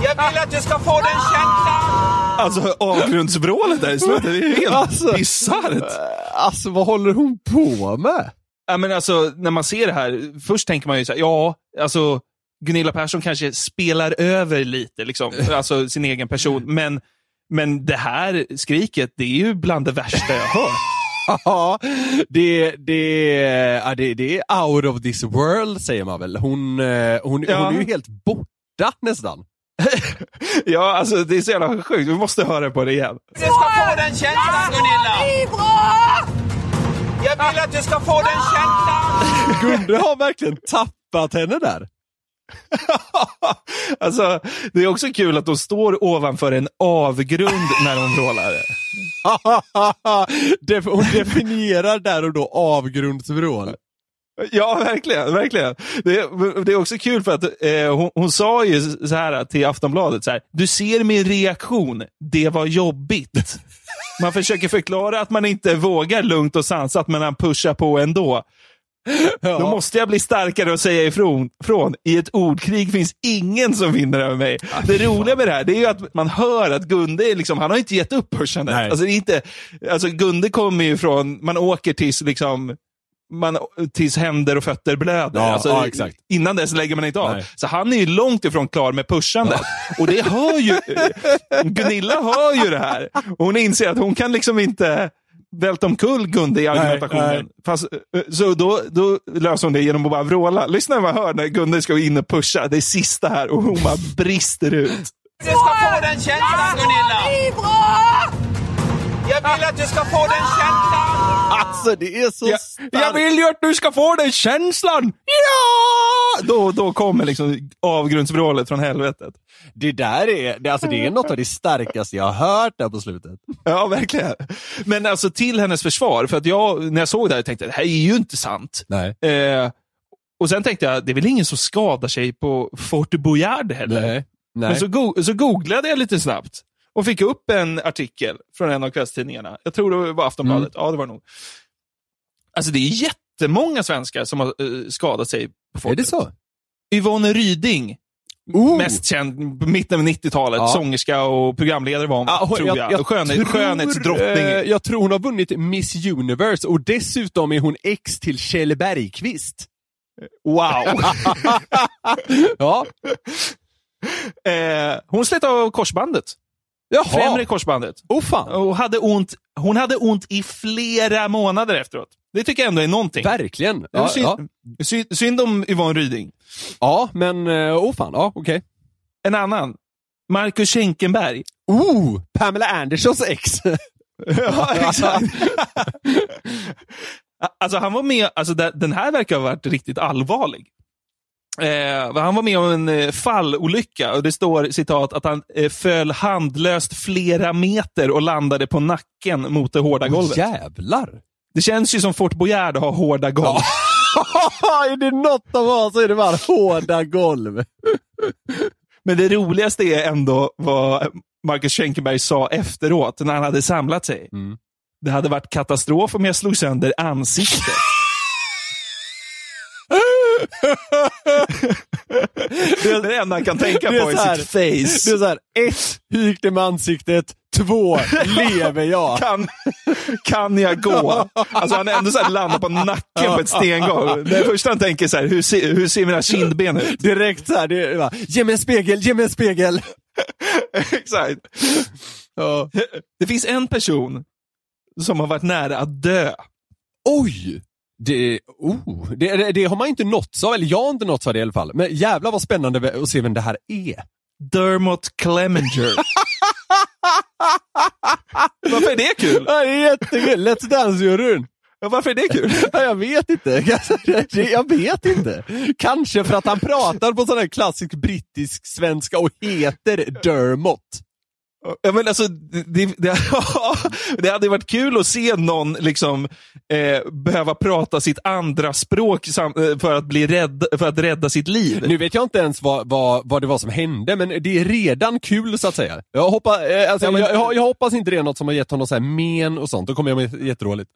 S3: Jag vill att du ska få den
S11: Ah!
S3: känslan.
S5: Alltså avgrundsvrålet där i slutet, det är ju helt
S4: Alltså.
S5: bisarrt.
S4: Alltså, vad håller hon på med?
S5: Ja, men alltså, när man ser det här, först tänker man ju så här, ja, alltså Gunilla Persson kanske spelar över lite, liksom, [LAUGHS] alltså sin egen person, men, men det här skriket, det är ju bland det värsta jag hört.
S4: Ja, det, det, ja, det, det är out of this world säger man väl. Hon, eh, hon,
S5: Ja.
S4: hon är ju helt borta nästan.
S5: [LAUGHS] Ja, alltså det är så jävla sjukt. Vi måste höra på det igen.
S3: Du ska få den känslan Gunilla. Jag vill att du ska få den känslan.
S4: Gunde har verkligen tappat henne där.
S5: [LAUGHS] alltså, det är också kul att de står ovanför en avgrund när de vrålar.
S4: [LAUGHS] Def- hon definierar där och då avgrundsvrål.
S5: Ja, verkligen. verkligen. Det, det är också kul för att [LAUGHS] eh, hon, hon sa ju så här till Aftonbladet, så här, du ser min reaktion, det var [LAUGHS] jobbigt. Man försöker förklara att man inte vågar lugnt och sansat, men han pushar på ändå. Då måste jag bli starkare och säga ifrån. Från. I ett ordkrig finns ingen som vinner över mig.
S4: Ah,
S5: det roliga med det här det är ju att man hör att Gunde är liksom, han har inte gett upp pushandet.
S4: Nej.
S5: Alltså, det är inte, alltså Gunde kommer ju från, man åker tills liksom man, tills händer och fötter blöder.
S4: Ja,
S5: alltså,
S4: ja, exakt.
S5: Innan dess lägger man inte av.
S4: Nej.
S5: Så han är ju långt ifrån klar med pushandet. [LAUGHS] Och det hör [LAUGHS] ju... Gunilla hör ju det här. Och hon inser att hon kan liksom inte välta omkull Gunde i argumentationen.
S4: nej.
S5: Fast, eh, så då, då löser hon det genom att bara vråla. Lyssna vad man hör när Gunde ska in och pusha. Det är sista här och hon bara brister ut.
S3: Du ska få den känslan Gunilla. Jag vill att du ska få den känslan.
S4: Alltså det är så starkt.
S5: vill ju att du ska få den känslan! Ja! Då, då kommer liksom avgrundsvrålet från helvetet.
S4: Det där är, det, alltså det är något av det starkaste jag har hört där på slutet.
S5: Ja, verkligen. Men alltså till hennes försvar, för att jag, när jag såg det här tänkte jag det här är ju inte sant.
S4: Nej.
S5: Eh, och sen tänkte jag, det är väl ingen som skadar sig på Fort Boyard heller?
S4: Nej.
S5: Men
S4: Nej.
S5: så, go- så googlade jag lite snabbt och fick upp en artikel från en av kvällstidningarna. Jag tror det var Aftonbladet.
S4: Mm.
S5: Ja, det var det nog. Alltså det är jättemånga svenskar som har eh, skadat sig på
S4: är
S5: fortet.
S4: det så?
S5: Yvonne Ryding
S4: Oh!
S5: Mest känd på mitten av 90-talet.
S4: Ja.
S5: Sångerska och programledare var hon,
S4: Ja, hon-
S5: tror jag. Skönhet,
S4: tror,
S5: skönhetsdrottning.
S4: eh, jag tror hon har vunnit Miss Universe och dessutom är hon ex till Kjell Bergqvist. Eh,
S5: Wow!
S4: [LAUGHS] Ja.
S5: eh, hon slet av korsbandet.
S4: Jaha.
S5: Främre korsbandet.
S4: Oh, fan.
S5: Och hade ont, hon hade ont i flera månader efteråt. Det tycker jag ändå är någonting.
S4: Verkligen.
S5: Det var
S4: Ja,
S5: synd,
S4: ja.
S5: synd, synd om Yvonne Ryding.
S4: ja, men eh, oh fan. Ja, okej.
S5: En annan. Marcus Schenkenberg.
S4: Oh, Pamela Andersons [LAUGHS] ex.
S5: Ja, exakt. alltså han var med, alltså de- den här verkar ha varit riktigt allvarlig. Eh, han var med om en eh, fallolycka och det står citat att han eh, föll handlöst flera meter och landade på nacken mot det hårda golvet.
S4: jävlar.
S5: Det känns ju som Fort Boyard har hårda golv.
S4: [LAUGHS] är det något de har så är det bara hårda golv.
S5: Men det roligaste är ändå vad Marcus Schenkenberg sa efteråt, när han hade samlat sig.
S4: Mm.
S5: Det hade varit katastrof om jag slog sönder ansiktet. det är det enda han kan tänka
S4: Det är
S5: på i
S4: så här-
S5: sitt face.
S4: Det är såhär, ett, hur gick det med ansiktet?
S5: [LAUGHS]
S4: Två, lever jag?
S5: Kan, kan jag gå? Alltså han är ändå så här landat på nacken på ett stengolv. Det första han tänker så här, hur, se, hur ser mina kindben ut?
S4: Direkt såhär, det är bara, ge mig en spegel, ge mig en spegel.
S5: Exakt. Det finns en person som har varit nära att dö.
S4: Oj! Det, oh, det, det, det har man inte nåtts av, eller jag har inte nåtts av det i alla fall. Men jävlar vad spännande att se vem det här är.
S5: Dermot Clemenger. Varför är det kul?
S4: Ja, Det är jättekul, Let's Dance-juryn.
S5: Ja, Varför är det kul?
S4: Ja, Jag vet inte. [LAUGHS] Jag vet inte. Kanske för att han pratar på sån här klassisk brittisk svenska och heter Dermot.
S5: Ja, men alltså, det, det, [LAUGHS] det hade varit kul att se någon liksom, eh, behöva prata sitt andra språk sam, eh, för, att bli rädd, för att rädda sitt liv.
S4: Nu vet jag inte ens vad, vad, vad det var som hände, men det är redan kul så att säga. Jag, hoppa, eh, alltså,
S5: Ja, men-
S4: jag, jag, jag hoppas inte det är något som har gett honom så här men och sånt. Då kommer jag med jätteroligt.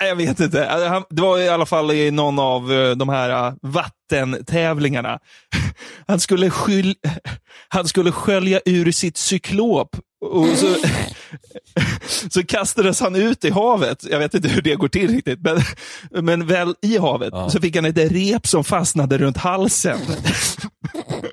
S5: Nej, Jag vet inte. Alltså, han- Det var i alla fall i någon av eh, de här eh, vattentävlingarna. [LAUGHS] Han skulle, skyl... [LAUGHS] han skulle skölja ur sitt cyklop och så... [LAUGHS] så kastades han ut i havet. Jag vet inte hur det går till riktigt, men, [LAUGHS] men väl i havet. Så fick han ett rep som fastnade runt halsen. [LAUGHS]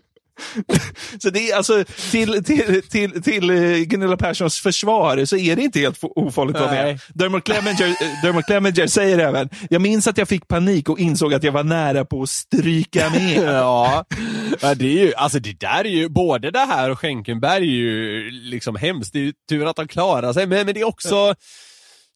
S5: Så det är alltså, till, till, till, till eh, Gunilla Perssons försvar så är det inte helt fo- ofarligt att vara med.
S4: Nej.
S5: Dermot Clemenger, eh, Dermot Clemenger säger även, jag minns att jag fick panik och insåg att jag var nära på att stryka med.
S4: [LAUGHS] Ja, ja det är ju, alltså det där är ju, både det här och Schenkenberg är ju liksom hemskt. Det är ju tur att de klarar sig, men, men det är också,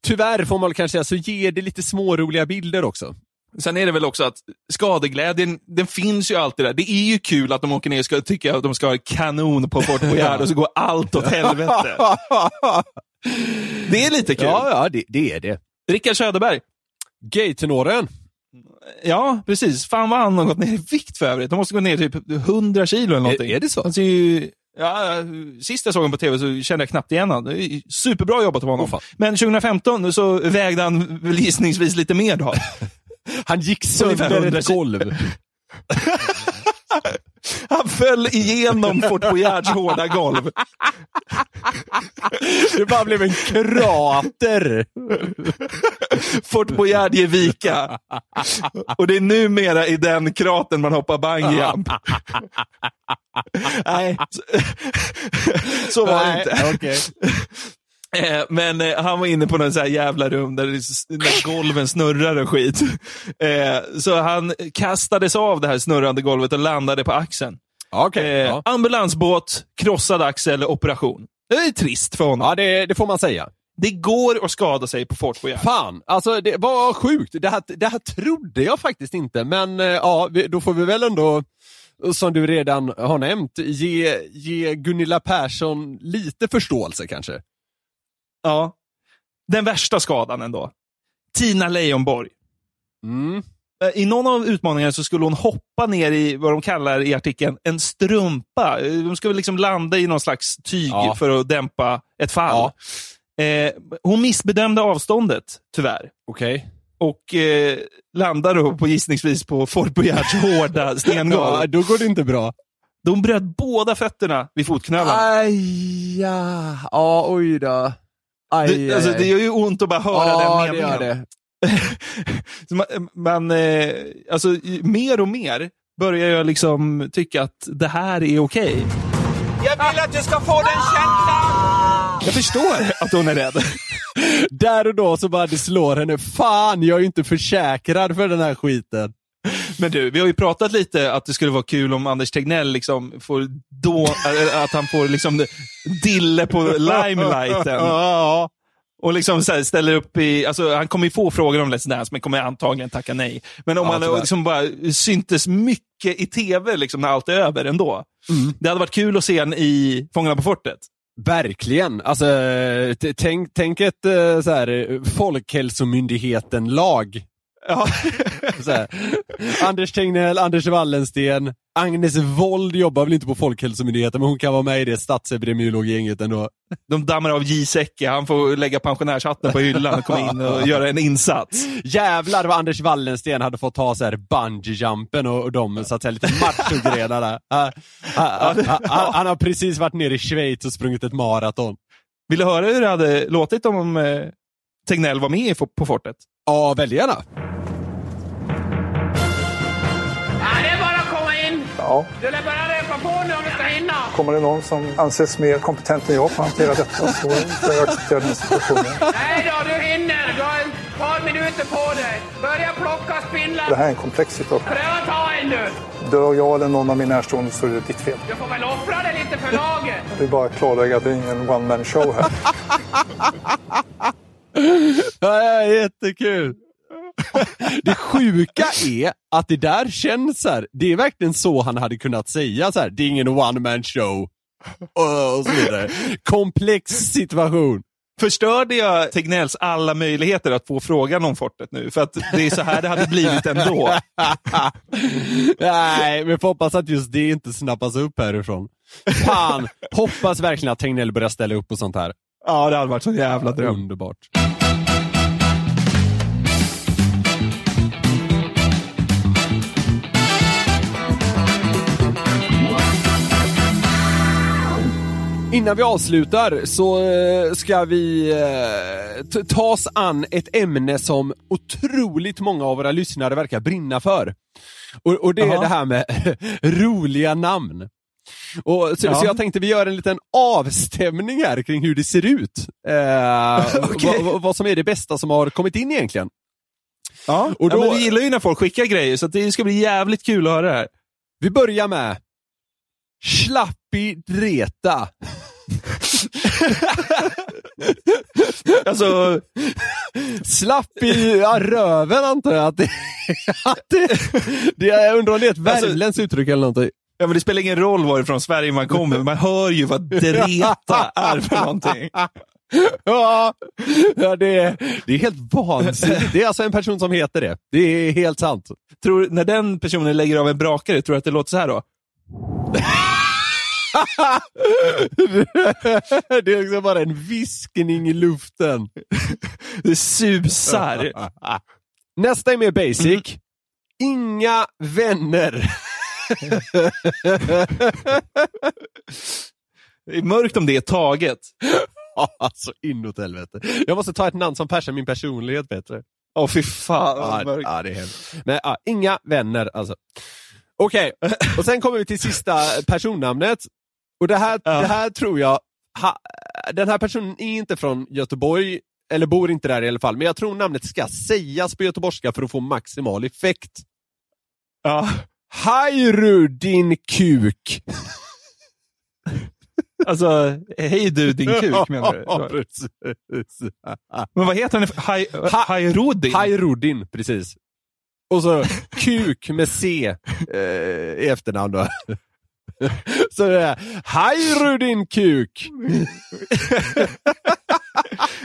S4: tyvärr får man kanske säga, så ger det lite småroliga bilder [LAUGHS] också.
S5: [LAUGHS] Sen är det väl också att skadeglädjen, den finns ju alltid där. Det är ju kul att de åker ner och ska, tycker att de ska ha kanon på Fort [LAUGHS] Boyard och så går allt åt helvete. Det är lite kul.
S4: Ja, ja, det, det är det.
S5: Rickard Söderberg,
S4: Gay-tenoren.
S5: Ja, precis. Fan vad han har gått ner i vikt för övrigt. De måste gå ner typ 100 kilo eller någonting.
S4: är det så?
S5: Han ser ju... Ja, ja, sist jag såg honom på tv så kände jag knappt igen honom. Det är ju Superbra jobbat av honom.
S4: Åh, fan.
S5: Men 2015 så vägde han väl gissningsvis lite
S4: [LAUGHS]
S5: mer då.
S4: Han gick
S5: Ungefär
S4: sönder
S5: 100
S4: ett [LAUGHS] golv.
S5: Han föll igenom Fort Boyards hårda golv.
S4: Det bara blev en krater.
S5: Fort Boyard
S4: [LAUGHS]
S5: ger vika. Och det är numera i den kraten man
S4: [LAUGHS]
S5: hoppar bungyjump. Nej, så- [LAUGHS] så var det inte.
S4: okej.
S5: [LAUGHS] Eh, Men eh, han var inne på någon så här jävla rum där, det s- där golven snurrar och skit. [LAUGHS] Eh, Så han kastades av det här snurrande golvet och landade på axeln.
S4: Okej,
S5: Eh,
S4: [LAUGHS] ja.
S5: Ambulansbåt, krossad axel, operation. Det är trist för honom.
S4: Ja, det, det får man säga.
S5: Det går att skada sig på Fort Boyard.
S4: Fan, alltså det var sjukt. Det här, det här trodde jag faktiskt inte, men eh, ja, vi, då får vi väl ändå, som du redan har nämnt, ge, ge Gunilla Persson lite förståelse kanske.
S5: Ja. Den värsta skadan ändå. Tina Leijonborg.
S4: Mm.
S5: Eh, I någon av utmaningarna så skulle hon hoppa ner i vad de kallar i artikeln en strumpa. Eh, De skulle liksom landa i någon slags tyg
S4: Ja.
S5: för att dämpa ett fall. Eh, hon missbedömde avståndet, tyvärr.
S4: Okej.
S5: Och eh,
S4: [LAUGHS]
S5: landade då på gissningsvis på Fort Boyards hårda stengolv.
S4: Ja, då går det inte bra.
S5: De bröt båda fötterna vid fotknölarna.
S4: Aj, ja. ja, oj då. Aj,
S5: Det, alltså,
S4: aj,
S5: det
S4: aj.
S5: gör ju ont att bara höra
S4: ja,
S5: den
S4: det gör
S5: meningen.
S4: det.
S5: Så man, man, eh, alltså, i- mer och mer börjar jag liksom tycka att det här är okej. Jag vill att du ska få den känslan! Jag förstår att hon är rädd.
S4: Där och då så bara det slår henne. Fan, jag är ju inte försäkrad för den här skiten.
S5: Men du, vi har ju pratat lite att det skulle vara kul om Anders Tegnell liksom får då, äh, att han får liksom dille [LAUGHS] på limelighten.
S4: Ja,
S5: Och liksom så här ställer upp i, alltså han kommer ju få frågor om Let's Dance, men kommer antagligen tacka nej. Men om
S4: Ja,
S5: han
S4: tyvärr.
S5: liksom bara syntes mycket i tv liksom när allt är över ändå. Det hade varit kul att se han i Fångarna på fortet.
S4: verkligen. Alltså, t- tänk, tänk ett eh, så här, eh, Folkhälsomyndigheten-lag.
S5: Ja.
S4: Så här. Anders Tegnell, Anders Wallensten, Agnes Wold jobbar väl inte på Folkhälsomyndigheten, men hon kan vara med i det statsepidemiologgänget ändå.
S5: [LAUGHS] De dammar av J. Säcke, han får lägga pensionärshatten på hyllan och komma in och göra en insats.
S4: Jävlar vad Anders Wallensten hade fått ta så här bungee-jumpen och, och de så att säga lite machogrenar där. Ah, ah, ah, ah, Han har precis varit nere i Schweiz och sprungit ett maraton.
S5: Vill du höra hur det hade låtit om eh, Tegnell var med i Fo- På fortet?
S4: Ja, väldigt gärna.
S6: Ja, det är bara att komma in. Du lär bara repa på nu om du ska hinna.
S12: Kommer det någon som anses mer kompetent än jag på att hantera detta så får
S6: [LAUGHS]
S12: jag acceptera den situationen.
S6: Nej då, du hinner. Du har ett par minuter på dig. Börja plocka
S12: Det här
S6: spindlar.
S12: är en komplex situation.
S6: Pröva ta en nu.
S12: Dör jag eller någon av mina närstående så är det ditt fel.
S6: Du får väl offra dig lite för laget.
S12: Det är bara att klarlägga att det är ingen one man show här.
S4: Ja, jättekul. [LAUGHS] Det sjuka är att det där känns så här, det är verkligen så han hade kunnat säga så här, det är ingen one man show. Och, och så vidare. Komplex situation.
S5: Förstörde jag Tegnells alla möjligheter att få frågan om fortet nu? För att det är så här det hade blivit ändå.
S4: Nej, men får hoppas att just det inte snappas upp härifrån. Fan, hoppas verkligen att Tegnell börjar ställa upp och sånt här.
S5: [LAUGHS] Ja, det hade varit så jävla dröm.
S4: Underbart. Innan vi avslutar så eh, ska vi eh, t- ta oss an ett ämne som otroligt många av våra lyssnare verkar brinna för. Och, och det är
S5: Jaha.
S4: det här med [LAUGHS] roliga namn. Och, så,
S5: Ja.
S4: så jag tänkte vi gör en liten avstämning här kring hur det ser ut.
S5: [LAUGHS]
S4: Eh, vad, vad, vad som är det bästa som har kommit in egentligen.
S5: Ja,
S4: och
S5: och
S4: då-
S5: då... men vi gillar ju när folk skickar grejer, så att det ska bli jävligt kul att höra det här.
S4: Vi börjar med Slappi Dreta.
S5: Alltså,
S4: Slapp i ja, röven antar jag att det, [LAUGHS] att det, det Jag undrar om det är ett
S5: Alltså-
S4: värmländskt uttryck eller någonting.
S5: ja, men det spelar ingen roll varifrån Sverige man kommer, man hör ju vad dreta är för [LAUGHS] någonting.
S4: Ja, ja det, är- det är helt vansinnigt. Det är alltså en person som heter det. Det är helt sant.
S5: Tror, när den personen lägger av en brakare, tror du att det låter så [LAUGHS] här då?
S4: Det är liksom bara en viskning i luften.
S5: Det susar. [LAUGHS]
S4: Nästa är mer basic. Mm. Inga vänner.
S5: Det är [LAUGHS] mörkt om det är taget.
S4: Ja, alltså inåt helvete. Jag måste ta ett namn som persar min personlighet bättre.
S5: Åh, fy fan
S4: Ja,
S5: vad mörkt.
S4: ja, det är hemskt. Men, ja, inga vänner alltså. Okej,
S5: [LAUGHS]
S4: och sen kommer vi till sista personnamnet. Och det här,
S5: Ja.
S4: det här tror jag, ha, den här personen är inte från Göteborg, eller bor inte där i alla fall, men jag tror namnet ska sägas på göteborgska för att få maximal effekt.
S5: Ja.
S4: Hajru din kuk!
S5: Alltså, hej du din kuk
S4: [LAUGHS]
S5: menar du?
S4: precis.
S5: Men vad heter han? Hai-
S4: Ha-
S5: Hajrodin?
S4: Hajrudin, precis. Och så kuk med C eh, i efternamn då. [LAUGHS] Så det är Hajrudin kuk!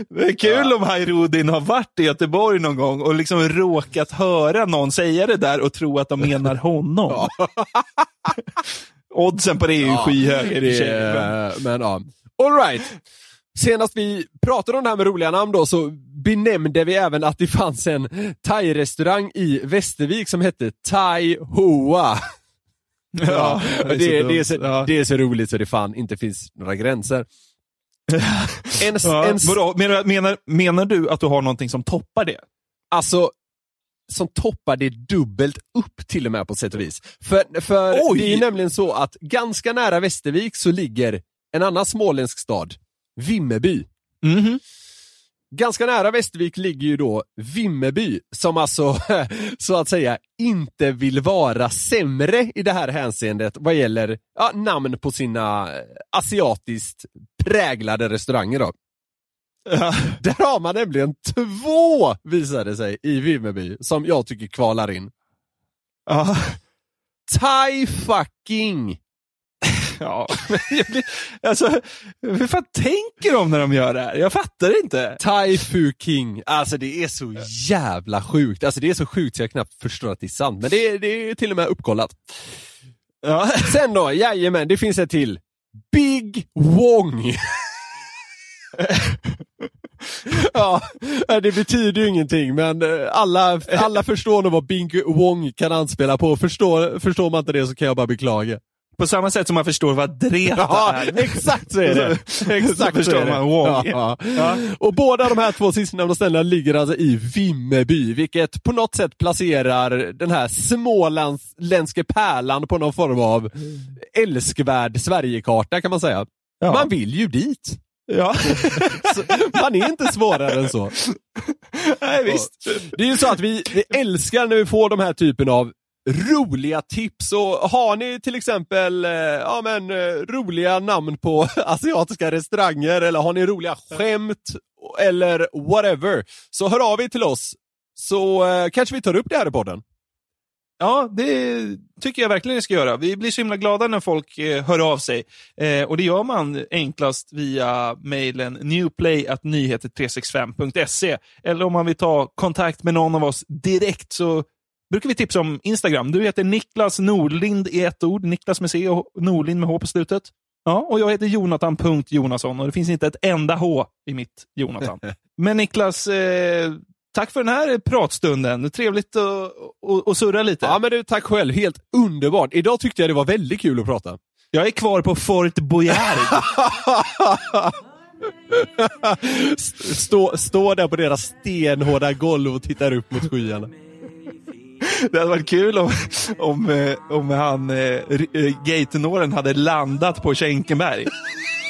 S5: det är kul om Hajrodin har varit i Göteborg någon gång och liksom råkat höra någon säga det där och tro att de menar honom. [LAUGHS] Oddsen på det är ju skyhöga i och för sig, men-
S4: Det, eh, men ja. Alright. Senast vi pratade om det här med roliga namn då så benämnde vi även att det fanns en thai-restaurang i Västervik som hette Thai Hoa. [LAUGHS] Ja, det, är,
S5: så
S4: det,
S5: dumt.
S4: är så,
S5: Ja.
S4: det är så roligt så det fan inte finns några
S5: [LAUGHS]
S4: gränser. En, s-
S5: Ja,
S4: en, s-
S5: vadå? menar, menar, menar du att du har någonting som toppar det?
S4: alltså, som toppar det dubbelt upp till och med på sätt och vis. För, för
S5: Oj!
S4: det är ju nämligen så att ganska nära Västervik så ligger en annan småländsk stad, Vimmerby.
S5: Mhm.
S4: Ganska nära Västervik ligger ju då Vimmerby, som alltså [LAUGHS] så att säga inte vill vara sämre i det här hänseendet vad gäller ja, namn på sina eh, asiatiskt präglade restauranger. Då. Där har man nämligen två, visade sig, i Vimmerby, som jag tycker kvalar in.
S5: [LAUGHS] Ja.
S4: Thai fucking!
S5: Ja. [LAUGHS] Jag blir- alltså, hur fan tänker de när de gör det här? Jag fattar inte.
S4: Thai Fu King. Alltså det är så jävla sjukt. Alltså det är så sjukt så jag knappt förstår att det är sant. Men det är, det är till och med uppkollat.
S5: Ja.
S4: [LAUGHS] Sen då, jajamän, det finns ett till. Big Wong. ja, det betyder ju ingenting men eh, alla, alla förstår nog vad Big Wong kan anspela på. Förstår, förstår man inte det så kan jag bara beklaga.
S5: På samma sätt som man förstår vad Dreta
S4: Ja, [LAUGHS]
S5: [LAUGHS] är.
S4: exakt så är det.
S5: alltså, så
S4: Exakt så
S5: förstår
S4: är det.
S5: man Wong.
S4: Ja, ja. Och båda de här två sistnämnda ställena ligger alltså i Vimmerby, vilket på något sätt placerar den här småländske pärlan på någon form av älskvärd Sverigekarta kan man säga.
S5: Ja.
S4: Man vill ju dit.
S5: Ja. [LAUGHS]
S4: Så Man är inte svårare än så.
S5: Nej, visst.
S4: Det är ju så att vi, vi älskar när vi får de här typen av roliga tips och har ni till exempel eh, ja, men, eh, roliga namn på [LAUGHS] asiatiska restauranger eller har ni roliga skämt eller whatever så hör av er till oss så eh, kanske vi tar upp det här i podden.
S5: Ja, det tycker jag verkligen ni ska göra. Vi blir så himla glada när folk eh, hör av sig. Eh, och det gör man enklast via mejlen newplay.nyheter365.se. Eller om man vill ta kontakt med någon av oss direkt så brukar vi tipsa om Instagram. Du heter Niklas Norlind i ett ord. Niklas med C och Norlind med H på slutet. Ja, och jag heter Jonathan.Jonasson och det finns inte ett enda H i mitt Jonathan. Men Niklas, eh, tack för den här pratstunden. Trevligt att att- att surra lite.
S4: Ja men du, tack själv. Helt underbart. Idag tyckte jag det var väldigt kul att prata.
S5: Jag är kvar på Fort Boyard.
S4: Stå, stå där på deras stenhårda golv och tittar upp mot skyarna.
S5: [LAUGHS] det hade varit kul om, om, eh, om han, eh, gatenåren hade landat på Schenkenberg.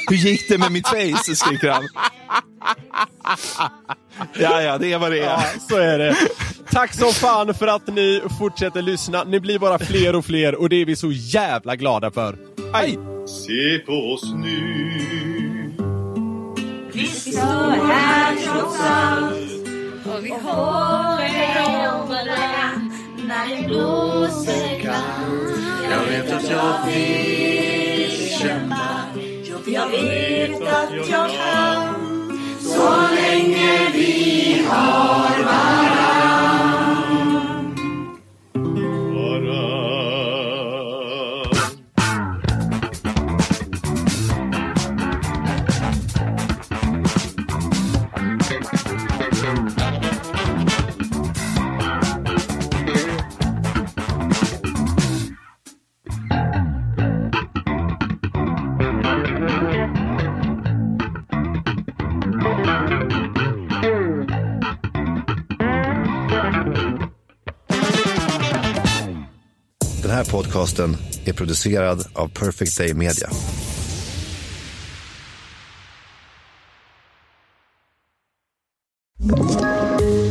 S5: Hur gick det med mitt face? skriker han. Ja, ja, det är vad det är.
S4: Ja, så är det. Tack som fan för att ni fortsätter lyssna. Ni blir bara fler och fler och det är vi så jävla glada för. Aj!
S13: Se på oss nu varann
S14: Den här podcasten är producerad av Perfect Day Media.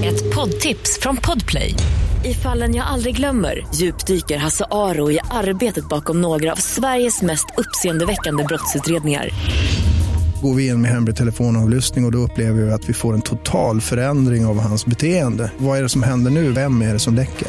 S11: Ett poddtips från Podplay. I fallen jag aldrig glömmer djupdyker Hasse Aro i arbetet bakom några av Sveriges mest uppseendeväckande brottsutredningar.
S15: Går vi in med hemlig telefonavlyssning och, och då upplever vi att vi får en total förändring av hans beteende. Vad är det som händer nu? Vem är det som läcker?